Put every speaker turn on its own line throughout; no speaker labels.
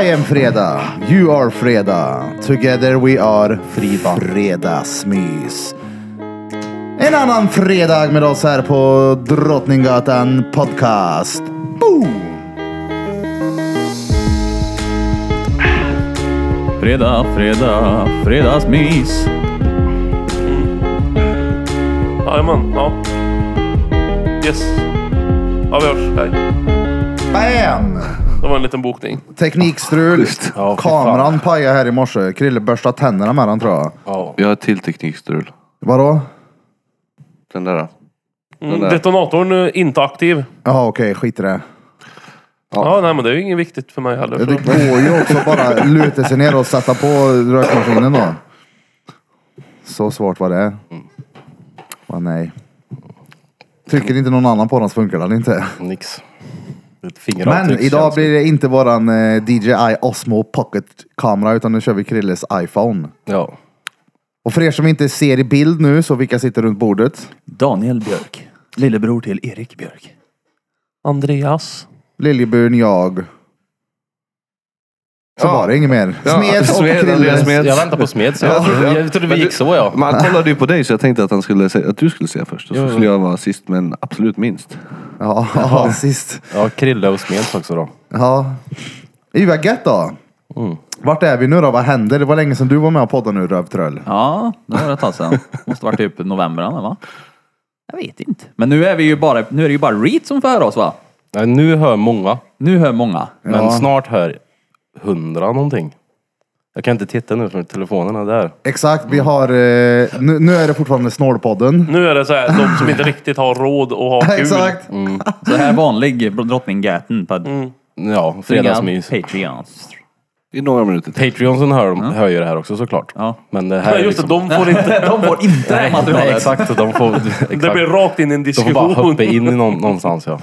I am Freda, you are Freda. Together we are Frida. Fredagsmys. En annan fredag med oss här på Drottninggatan Podcast. Boom!
Fredag, fredag, fredagsmys.
Jajamän, ja. Yes. Ja, vi hörs. Hej.
Bam!
Det var en liten bokning.
Teknikstrul.
Ja, fy fan.
Kameran pajade här i morse. Krille borstade tänderna med den tror jag.
Ja.
Jag har ett till teknikstrul.
Vadå?
Den där.
Mm,
där.
detonatorn är inte aktiv.
Jaha okej, skit i det.
Ja. nej men det är ju inget viktigt för mig heller.
Det
För
går ju också bara luta sig ner och sätta på rökmaskinen då. Så svårt var det. Vad nej. Trycker inte någon annan på den så funkar den inte.
Nix. Ett fingeravtryck.
Men idag blir det inte våran eh, DJI Osmo Pocket-kamera utan nu kör vi Krilles iPhone.
Ja.
Och för er som inte ser i bild nu så vilka sitter runt bordet?
Daniel Björk. Lillebror till Erik Björk.
Andreas.
Liljeburen, jag. Så
Ja.
var det inget mer.
Ja,
Smet och
Smed,
Krille.
Andreas Smed.
Jag väntar på smed så jag,
Ja.
jag trodde vi gick så ja.
Man kollade ju på dig så jag tänkte att, han skulle säga, att du skulle säga först. Och
Jo,
så
jo.
skulle jag vara sist men absolut minst.
Ja, ja, sist.
Ja, Krille och smed också då.
Ja. Det är ju vad gött då. Vart är vi nu då? Vad händer? Det var länge sedan du var med och poddade nu Rövtröll.
Ja, det var ett tag sedan. Måste varit typ november eller va? Jag vet inte. Men nu är vi ju bara, nu är det ju bara Reed som får höra oss va?
Nej, nu hör många.
Nu hör många.
Men snart hör hundra någonting. Jag kan inte titta nu för telefonen är där.
Exakt, vi har... Eh, nu, nu är det fortfarande Snålpodden.
Nu är det så här, de som inte riktigt har råd att ha kul.
Exakt.
Så här vanlig Drottninggatan på
Ja, fredagsmys.
Patreons.
I några minuter till.
Patreonsen hör, de, hör ju det här också såklart.
Ja.
Men det här
Nej
är
just det,
liksom...
de får inte...
De får inte det här materialet.
Nej, exakt. De får, exakt.
Det blir rakt in i en
de får bara
diskussion.
hoppa in i någon, någonstans ja.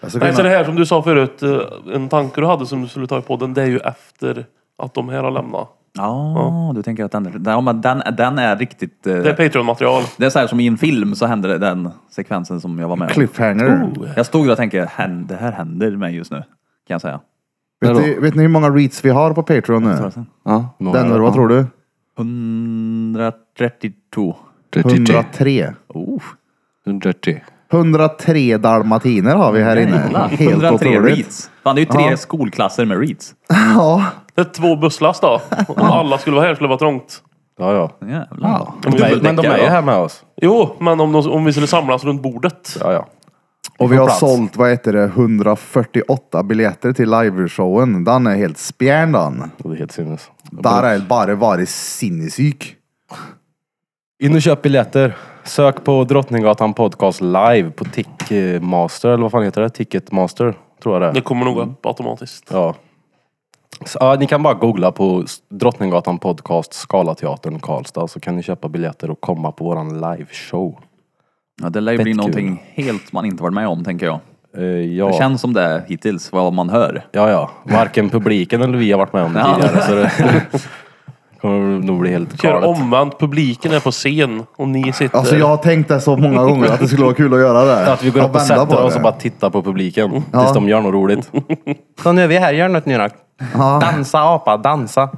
Alltså,
Nej, så det här som du sa förut, eh, en tanke du hade som du skulle ta i podden, det är ju efter att de här har lämnat.
Ja, du tänker att den, är- ja, men den, den är riktigt... eh,
Det är Patreon-material.
Det är så här som i en film så händer det, den sekvensen som jag var med om.
Cliffhanger.
Jag stod där och tänkte, "Hän- det här händer mig just nu. Kan jag säga.
Vet, ni, vet ni hur många reads vi har på Patreon nu?
Ja.
Några-
Denver, vad tror du?
132.
130.
103.
Oh,
130.
103 dalmatiner har vi här inne.
jävlar.
Helt
103
otroligt.
reads. Fan, det är ju tre
Ja.
skolklasser med reads.
Ja.
Det är två busslast då. Om alla skulle vara här skulle det vara trångt.
Ja, ja.
Jävlar.
De är, men de är ju
då.
här med oss.
Jo, men om, de, om vi skulle samlas runt bordet.
Ja, ja.
Och vi har
plats.
sålt, vad heter det, 148 biljetter till liveshowen. Den är helt spjärn den.
Det är helt sinnes.
Där är bara varit sinnessyk.
In och köp biljetter. Sök på Drottninggatan Podcast Live på Tickmaster, eller vad fan heter det? Ticketmaster, tror jag det
Det
är.
kommer nog upp automatiskt.
Ja. Så, ja, ni kan bara googla på s- Drottninggatan Podcast Skalateatern Karlstad så kan ni köpa biljetter och komma på våran liveshow.
Ja, det lär ju bli
Fett kul.
någonting helt man inte varit med om, tänker jag.
Eh, ja.
Det känns som det är hittills, vad man hör.
ja, ja. Varken publiken eller vi har varit med om det
Ja.
tidigare. Så det kommer nog bli helt
Kör
galet.
omvänt, publiken är på scen och ni sitter...
Alltså jag har tänkt det så många gånger att det skulle vara kul att göra det.
Att vi går
Att
upp och
vända
sätter
på
oss
det.
och bara tittar på publiken
Ja.
tills de gör något roligt. Så nu är vi här, gör något nu då.
Ja,
Dansa apa, dansa.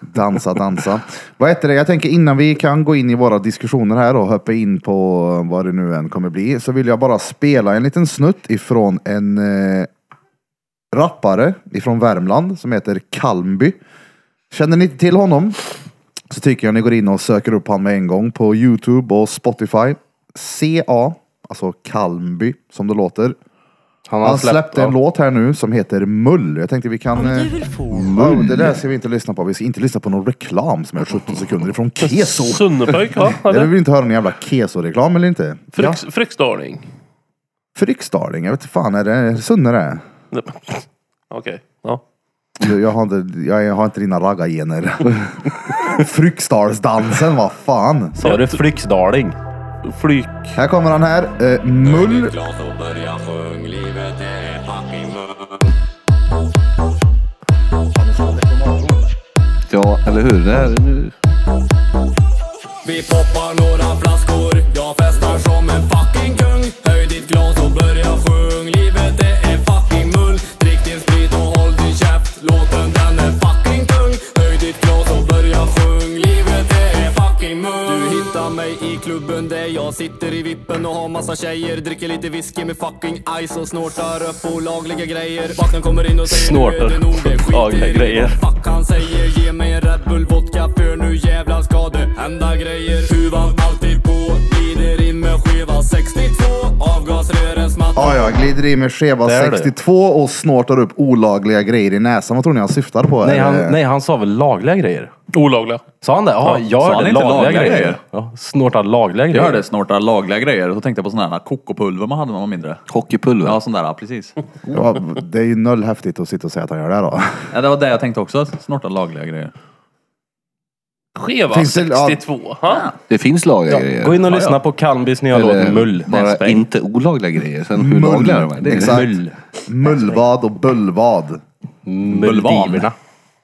dansa, dansa. Vad heter det? Jag tänker innan vi kan gå in i våra diskussioner här och hoppa in på vad det nu än kommer bli så vill jag bara spela en liten snutt ifrån en eh, rappare ifrån Värmland som heter Kalmby. Känner ni inte till honom så tycker jag ni går in och söker upp honom med en gång på Youtube och Spotify. CA, alltså Kalmby som det låter.
Han
Han släppte en
ja.
låt här nu som heter Mull. Jag tänkte vi kan... eh, Mull. Det där ska vi inte lyssna på. Vi ska inte lyssna på någon reklam som är 17 sekunder ifrån Keso.
Sunnepöjk va?
Jag
Eller?
vill inte höra någon jävla Keso-reklam eller inte. Ja.
Fryx, Fryksdaling?
Fryksdaling, jag vet inte fan är det Sunne det?
Nej. Okej. Ja.
Jag jag har inte, jag har inte dina raggargener. Fryksdalsdansen, vad fan.
Sa du Flyxdaling?
Flyk...
Här kommer han här. Eh, Mull.
Glas och börja sjung, livet är fucking mörkt
Ja, eller hur? Det här är nu.
Vi poppar några flaskor, jag festar som en fucking kung Höj ditt glas och börja sjung, livet det är fucking mull Drick din sprit och håll din käft, låt den där sitter i vippen och har massa tjejer Dricker lite whisky med fucking ice och snortar upp olagliga grejer Vakten kommer in och säger
Snortar
nu är det nog, det skiter
olagliga
i
grejer.
vad Fuck han säger, ge mig en Red Bull vodka för nu jävlar ska det hända grejer Tuvan alltid på, glider in med skiva 62 Avgasrören
Ja,
smattrar
jag glider i med skeva
Där är du.
62 och snortar upp olagliga grejer i näsan. Vad tror ni han syftar på? Eh,
Nej
Eller-
han, nej, han sa väl lagliga grejer?
Olagliga.
Sa han det? Ja, jag
sa
hörde
han inte
lagliga,
lagliga
grejer.
grejer?
Ja, snortar lagliga
Jag
grejer.
hörde snorta lagliga grejer och då tänkte jag på sådana här kokopulver man hade när man var mindre.
Hockeypulver.
Ja, sån där, ja, precis.
Ja, det är ju noll häftigt att sitta och säga att han gör det här då.
Ja, det var det jag tänkte också, snorta lagliga grejer.
Skeva
Finns det- ja.
62. ha?
Det finns lagliga grejer.
Gå in och lyssna på Kalmbys nya
Eh, Eller
låt Mull.
Bara
Nässpray.
inte olagliga grejer. Sen hur lagliga de är. Det är
Exakt.
Mull.
Mullvad och bullvad.
Muldiverna.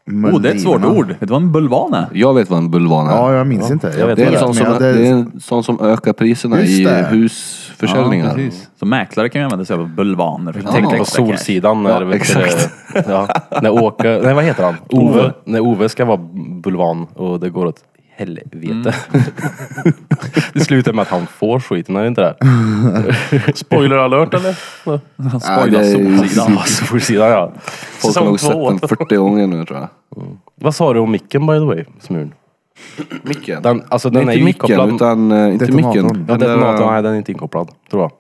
Oh, det är ett svårt
Muldiverna.
ord. Vet du vad en bulvan är?
Jag vet vad en bulvan är.
Ja, jag minns inte. Jag
vet
det, är en
vet,
sån
men
som,
jag-
det är en sån som ökar priserna
Just
i
det.
husförsäljningar.
Ja, precis. Så mäklare kan ju använda sig av bulvaner. för att
Tänkte
tjäna
på
extra cash.
Solsidan när,
Ja,
vet du,
exakt.
ja, när Åke, nej vad heter han? Ove. När Ove ska vara bulvan och det går åt helvete.
Mm.
det slutar med att han får skiten, är det inte det?
Spoiler alert eller? Ja.
Han
Ja, det
spoilar
är-
Solsidan.
Ja, Solsidan ja.
Folk har
Säsong
nog
två.
sett den 40 gånger nu tror jag.
Vad sa du om micken by the way? Smurn?
Micken?
Den, alltså, den
Nej, inte
är ju
micken,
inkopplad.
utan... eh, Inte
Detonatorn.
micken.
Ja,
Den där,
detonatorn,
eh,
nej den är inte inkopplad, tror jag.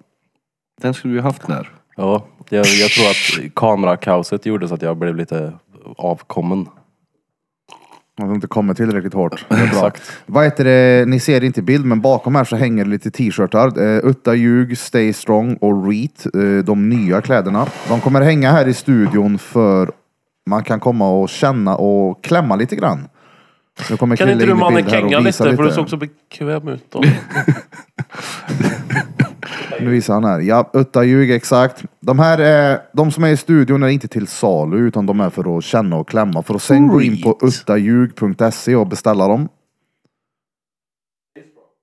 Den skulle vi ha haft där.
Ja, jag, jag tror att kamerakaoset gjorde så att jag blev lite avkommen.
Att de inte kommer tillräckligt hårt. Det är bra. Vad heter det? Ni ser det inte i bild, men bakom här så hänger det lite t-shirtar. Eh, Utta Ljug, Stay Strong och Reet. Eh, de nya kläderna. De kommer hänga här i studion för man kan komma och känna och klämma lite grann. Nu kommer
Kan
Krille
inte
in
du
i bild här och
mannekänga lite?
visar
För du såg så bekväm ut då.
Nu visar han här. Ja, Utta Ljug, exakt. De här är, de som är i studion är inte till salu utan de är för att känna och klämma. För att sen gå in på uttaljug.se och beställa dem.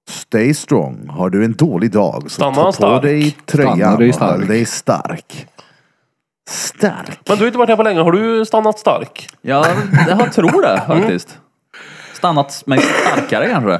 Stay strong. Har du en dålig dag så
Stanna
ta
stark.
på dig tröjan
Stanna
och
dig
håll
stark.
dig stark. Stark.
Men du har inte varit här på länge. Har du stannat stark?
Ja, det- jag tror det faktiskt. Stannat mig starkare kanske.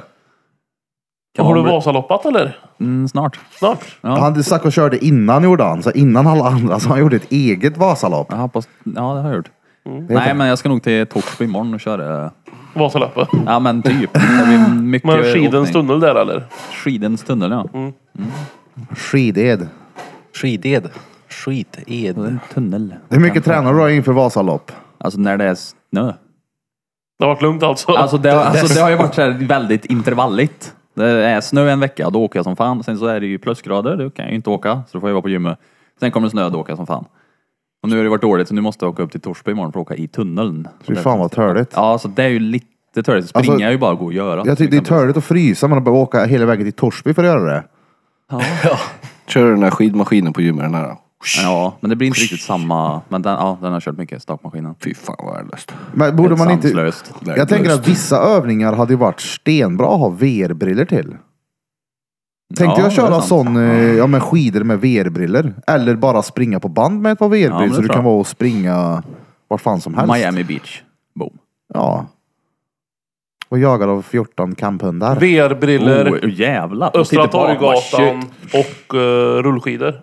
Kan
har du
man bli-
Vasaloppat eller?
Mm, snart.
Snart?
Ja.
Han satt och körde innan gjorde han. Så innan alla andra. Så han gjorde ett eget Vasalopp.
Jag hoppas... Ja, det har jag gjort.
Mm.
Nej, men jag ska nog till Torsby imorgon och köra.
Vasaloppet?
Ja, men typ. Det blir mycket
Men skidens
åkning.
tunnel Mm. där eller?
Skidens tunnel, ja.
Skided.
Skided. Skided.
En tunnel.
Hur mycket tränar du då inför Vasalopp?
Alltså när det är snö.
Det har varit lugnt alltså.
Alltså det, alltså, det har ju varit så här väldigt intervalligt. Det är snö en vecka, då åker jag som fan. Sen så är det ju plusgrader, då kan jag ju inte åka. Så då får jag vara på gymmet. Sen kommer det snö, då åker jag som fan. Och nu har det varit dåligt, så nu måste jag åka upp till Torsby imorgon för att åka i tunneln.
Fy fan vad törligt.
Ja, så det är ju lite törligt. Springa
Alltså,
är ju bara att gå och göra.
Jag tycker det är törligt att frysa men att behöva åka hela vägen till Torsby för att göra det.
Kör du den här skidmaskinen på gymmet den här. då?
Ja, men det blir inte riktigt samma. Men den, ja, den har kört mycket, stakmaskinen.
Fy fan vad värdelöst.
Men borde
Helt
man inte...
sanslöst.
Jag tänker att vissa övningar hade ju varit stenbra att ha VR-briller till. Tänkte
Ja,
jag
det är
köra
sant. Mm.
sån, eh, ja men skidor med VR-briller. Eller bara springa på band med ett par VR-briller
Ja, men
så
det
du
tror
kan
jag.
vara och springa vart fan som helst.
Miami Beach. Boom.
Ja. Och jagad av 14 kamphundar.
VR-briller,
Oh, jävlar. Och
Östra
sitter bak. Bara,
Torggatan
shit.
och eh, rullskidor.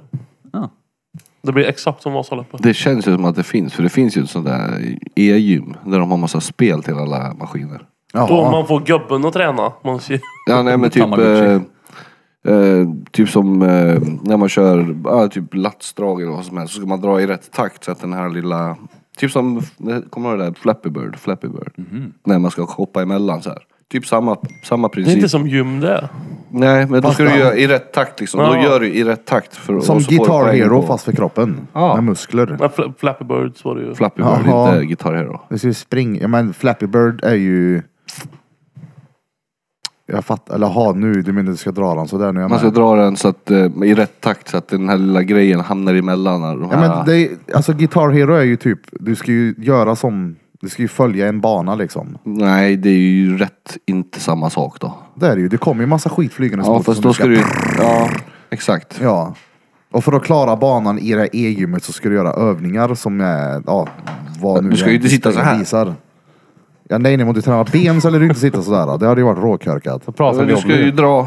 Ja.
Det blir exakt som Vasaloppet.
Det känns ju som att det finns, för det finns ju ett sånt där e-gym där de har massa spel till alla maskiner.
Då
Ja.
man får gubben att träna. Man ser,
Ja, nej men typ...
Tamagotchi.
eh, eh, typ som eh, när man kör ja, typ latsdrag eller vad som helst. Så ska man dra i rätt takt så att den här lilla... Typ som, kommer du ihåg det där Flappy Bird? Flappy Bird. När man ska hoppa emellan så här. Typ samma, samma
det är
princip.
inte som gym det. är.
Nej, men då ska du
Fast-
göra i rätt takt liksom. Då
Ja.
gör du i rätt takt. För,
Som
och så får du
Guitar
poäng
Hero
på-
fast för kroppen.
Ja.
Med muskler.
Nej, Fla- Flappy Birds var det ju.
Flappy Bird,
Jaha.
inte Guitar Hero.
Det ska ju springa. Ja, men Flappy Bird är ju... Jag fattar. Eller ha nu, du menar du ska dra den sådär nu. är Jag
Man ska
med.
dra den så att, eh, i rätt takt så att den här lilla grejen hamnar emellan. och De
Ja,
här,
men det är, alltså Guitar Hero är ju typ, du ska ju göra som, du ska ju följa en bana liksom.
Nej, det är ju rätt inte samma sak då.
Det är det ju, det kommer ju massa skit flygandes
Ja,
mot
fast
som
då ska du... Ja, exakt.
Ja. Och för att klara banan i det här e-gymmet så ska du göra övningar som är, ja, vad nu
Du ska ju
är-
inte sitta så här.
Visar. Ja, nej, nej, men om du tränar ben så lär du inte sitta sådär. Det hade ju varit råkörkat.
Då pratar
Men
vi
du
om
ska ju
nu.
dra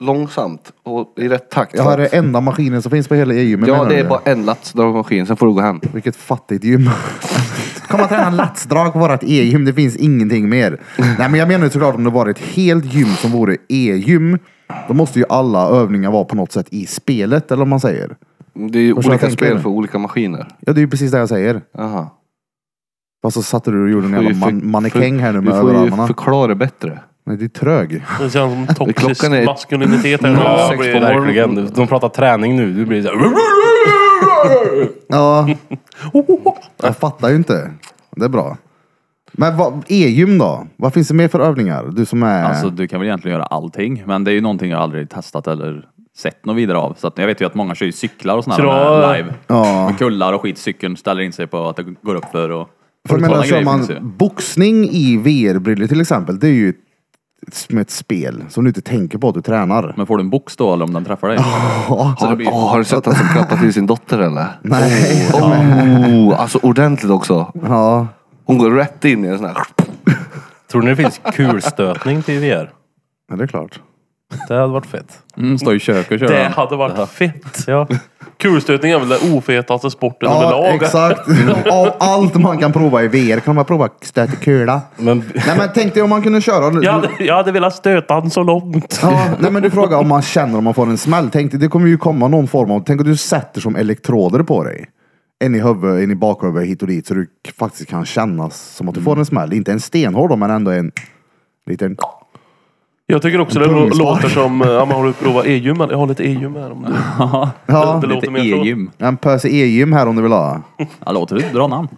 långsamt och i rätt takt.
Jag har det enda maskinen som finns på hela EU. Men
ja,
menar
det är
du?
bara en latsdragmaskin, sen får du gå hem.
Vilket fattigt gym. Kom och träna latsdrag på vårt e-gym. Det finns ingenting mer. Nej, men jag menar ju såklart om det var ett helt gym som vore e-gym. Då måste ju alla övningar vara på något sätt i spelet, eller om man säger.
Det är ju
Förstår jag
olika
tänker
spel
nu.
för olika maskiner.
Ja, det är ju precis det jag säger.
Aha.
Fast så satte du och gjorde en
Du får ju
jävla man-
för-
mannekäng här nu
Du
med
får ju
överarmarna.
förklara bättre.
Nej, det är trög.
Det känns som toxisk
Klockan är-
maskulinitet här nu.
Ja,
Jag
sex
blir-
på morgonen.
Verkligen. De pratar träning nu. Du blir så här,
Ja. Jag fattar ju inte. Det är bra. Men vad, e-gym då? Vad finns det mer för övningar? Du som är...
Alltså du kan väl egentligen göra allting, men det är ju någonting jag aldrig testat eller sett något vidare av. Så att jag vet ju att många kör ju cyklar och sådana
Tra-
här live.
Ja.
Med kullar och skit, cykeln ställer in sig på att det går upp för och...
För jag menar,
Sådana
kör
grejer finns ju.
alltså, man boxning i VR-brillor till exempel, det är ju ett- som ett spel som du inte tänker på att du tränar.
Men får du en box då eller om den träffar dig? Så det
Har,
blir-
åh, har du sett han som klappar till sin dotter eller?
Nej.
Oh, alltså ordentligt också.
Ja.
Hon går rätt in i en sån här...
Tror ni det finns kulstötning till VR?
ja, det är klart.
Det hade varit fett.
Mm, står i köket och kör
Det
den.
hade varit fett.
Ja.
Kulstötning är väl den ofetaste sporten
Ja,
överlag.
exakt. Av allt man kan prova i VR kan man prova stöt i kula.
Men
Nej men tänk dig om man kunde köra...
Jag hade, jag hade velat stöta han så långt.
Ja, nej men du frågar om man känner om man får en smäll. Tänk dig, det kommer ju komma någon form av... Tänk om du sätter som elektroder på dig. En i huvudet, en i bakhuvudet, hit och dit. Så du k- faktiskt kan kännas som att du får en smäll. Inte en stenhård då, men ändå en liten...
Jag tycker också det
En
lå-
pungspark.
låter som... eh, Ja, man har du provat e-gym? Jag har lite e-gym här. Om du.
Ja,
det låter
Lite
mer så.
e-gym.
en pöse e-gym här om du vill ha.
Ja, låter det? Dra namn.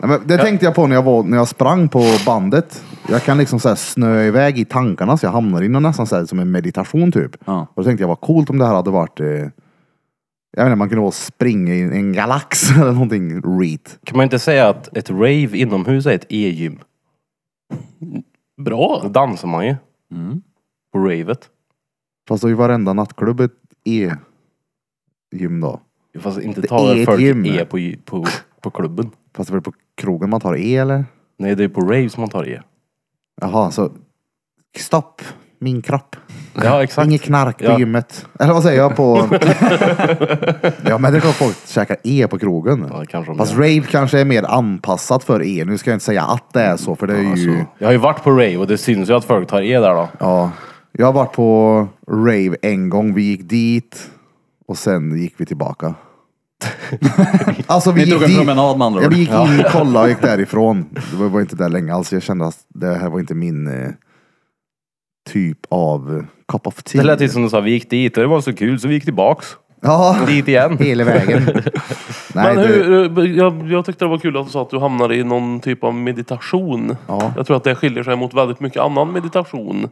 Nej, men det tänkte jag på när jag, var, när jag sprang på bandet. Jag kan liksom så här snöa iväg i tankarna så jag hamnar in och nästan så här, som en meditation typ.
Ja.
Och då tänkte jag vad coolt om det här hade varit... Eh, jag vet inte, man kunde vara och springa i en galax eller någonting. Reet.
kan man inte säga att ett rave inomhus är ett e-gym? Då
Bra!
dansar man ju.
Mm.
På ravet.
Fast då är ju varenda nattklubb ett E-gym då.
Fast inte
Det
tar
är ett
folk
gym.
e på, på, på klubben.
Fast det är väl på krogen man tar E eller?
Nej, det är på rave som man tar e.
Jaha, så stopp min kropp.
Ja, exakt.
Inget knark på
Ja.
gymmet. Eller vad säger jag på... ja men det är klart folk käkar E på krogen.
Ja, det kanske de
Fast
gör.
rave kanske är mer anpassat för E. Nu ska jag inte säga att det är så för det är ju...
Jag har ju varit på rave och det syns ju att folk tar e där då.
Ja. Jag har varit på rave en gång. Vi gick dit och sen gick vi tillbaka. alltså vi
Ni
gick
tog en
dit.
promenad med andra
Ja,
ord.
vi gick in, kollade och gick därifrån. Det var- var inte där länge alls. Jag kände att det här var inte min eh, typ av eh, cup of tea.
Det lät ju som du sa, vi gick dit och det var så kul så vi gick tillbaks.
Ja,
Dit igen.
hela vägen. Nej,
Men
det,
hur, eh, jag, jag tyckte det var kul att du sa att du hamnade i någon typ av meditation.
Ja.
Jag tror att det skiljer sig mot väldigt mycket annan meditation.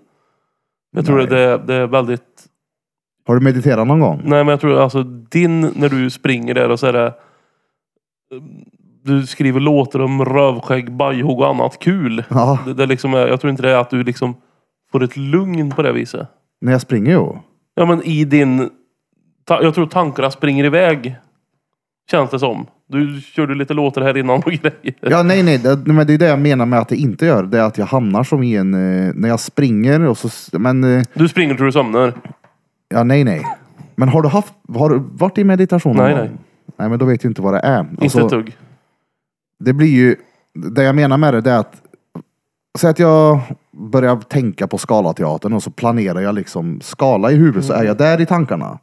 Jag tror att det, det är väldigt...
har du mediterat någon gång?
Nej men jag tror alltså din, när du springer där och så är det... eh, Du skriver låtar om rövskägg, bajhugg och annat kul.
Ja,
Det, det liksom är, jag tror inte det är att du liksom får ett lugn på det viset.
när jag springer ju.
Ja men i din... Ta, jag tror tankarna springer iväg. Känns det som. Du körde lite låtar här innan och grejer.
Ja, nej, nej. Det, men det är det jag menar med att det inte gör. Det är att jag hamnar som i en... eh, När jag springer och så... s- Men... eh,
Du springer till du somnar.
Mm. Ja, nej, nej. Men har du haft... Har du varit i meditation någon
Nej,
gång?
nej.
Nej, men då vet du inte vad det är.
inte
Alltså,
ett tugg.
det blir ju... Det jag menar med det, det är att... Säg att jag börjar tänka på Scalateatern och så planerar jag liksom skala i huvudet
Mm.
så är jag där i tankarna.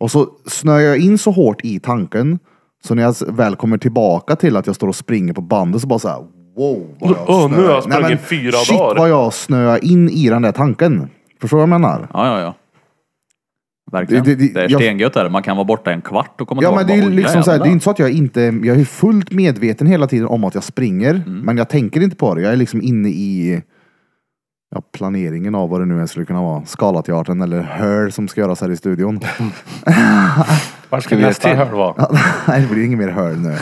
Och så snöar jag in så hårt i tanken så när jag s- väl kommer tillbaka till att jag står och springer på bandet så bara så här, wow vad jag
Åh, nu har jag
snöar- Nej,
sprungit
men
fyra
shit,
dagar.
vad jag snöar in i den där tanken. Förstår du vad jag menar?
Ja, ja, ja. Verkligen.
Det-
Det,
det- det-
är
jag-
stengött där. Man kan vara borta en kvart och komma
Ja men det
tillbaka
är ju
och bara,
liksom
"Oj,
så här, det är
jävlar."
inte så att jag inte, jag är fullt medveten hela tiden om att jag springer, men jag tänker inte på det. Jag är liksom inne i ja, planeringen av vad det nu än skulle kunna vara. Scalateatern eller Hör som ska göras här i studion.
Vart ska
vi
nästa
till?
hörn vara?
Nej det blir inget mer Hör nu.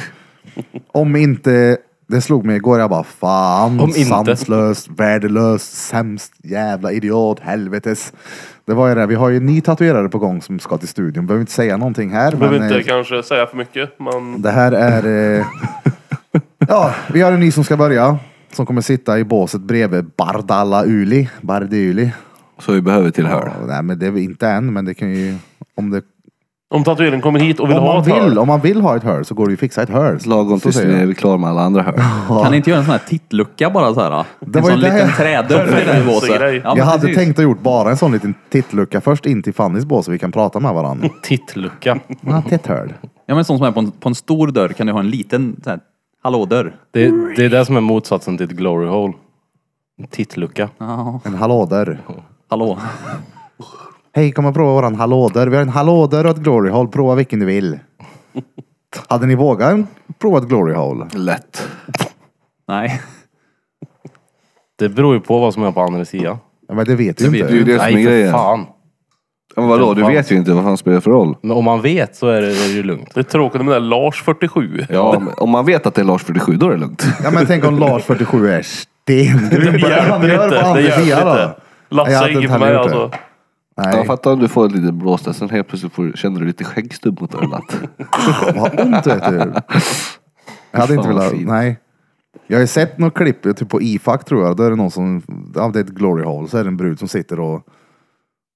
Om inte, det slog mig igår, jag bara fan,
Om inte.
sanslöst, värdelöst, sämst, jävla idiot, helvetes. Det var ju det, vi har ju en ny tatuerare på gång som ska till studion, behöver inte säga någonting här.
Behöver
men,
inte
eh,
kanske säga för mycket. Men
Det här är... Eh, ja, vi har en ny som ska börja. Som kommer sitta i båset bredvid Bardala Uli. Bardi Uli.
Så vi behöver till här.
Ja, nej men det är väl inte än, men det kan ju... Om, det,
Om tatueringen kommer hit och vill
om,
ha
man
ett hörn.
vill, om man vill ha ett hörn så går det ju att fixa ett hörn.
Lagom
Så
tills
säger
ni
jag.
är klara med alla andra här.
Kan ni inte göra en sån här tittlucka bara så här?
Det
en
var
sån
ju det
liten
jag-
trädörr till din båse.
Grej.
Ja, men
jag hade
precis.
tänkt att gjort bara en sån liten tittlucka först in till Fannys bås så vi kan prata med varandra.
Tittlucka.
Ja, titthörn.
Ja men sån som är på en, på en stor dörr kan du ha en liten så här, hallådörr.
Det, det är det som är motsatsen till ett glory hole. En Tittlucka.
Ja,
En hallådörr.
hallå.
Hej, kom och prova våran hallådörr. Vi har en hallådörr och ett glory hole. Prova vilken du vill. Hade ni vågat prova ett glory hole?
Lätt.
Nej.
Det beror ju på vad som är på andra sidan.
Ja, Men det vet du ju
Det är ju
inte.
det som är
Nej för
grejen.
fan.
Men vadå, du
Fan.
vet ju inte vad fan spelar det för roll.
Men om man vet så är det, är det ju lugnt.
Det är tråkigt med den där Lars 47.
Ja, men om man vet att det är Lars 47 då är det lugnt.
Ja, men tänk om Lars 47 är stengrym på det han gör på andra sidan då. Nej, jag
Lasse
hade
är ingen
inte
för mig
heller gjort
alltså.
Jag
Nej,
fattar om du får ett litet blås sen helt plötsligt får, känner du lite skäggstubb mot örat.
vad ont vet du. typ. Jag hade inte
Fan, vad
velat,
fint.
nej. Jag har ju sett något klipp, typ på IFAC tror jag, då är det någon som, ja det är ett glory hole, så är det en brud som sitter och,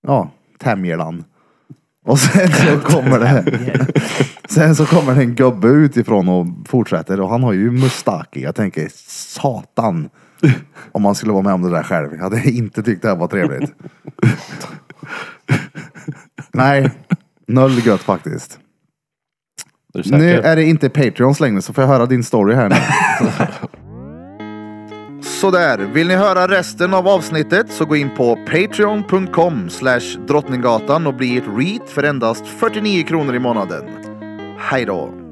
ja, tämjer den. Och sen så kommer det, sen så kommer det en gubbe utifrån och fortsätter och han har ju mustasch i. Jag tänker, satan. Om man skulle vara med om det där själv. Jag hade inte tyckt det här var trevligt. Nej, noll gött faktiskt.
Är du
Nu
säker?
är det inte Patreons längre så får jag höra din story här nu. Sådär, vill ni höra resten av avsnittet så gå in på patreon.com slash drottninggatan och bli ett reat för endast 49 kronor i månaden. Hej då!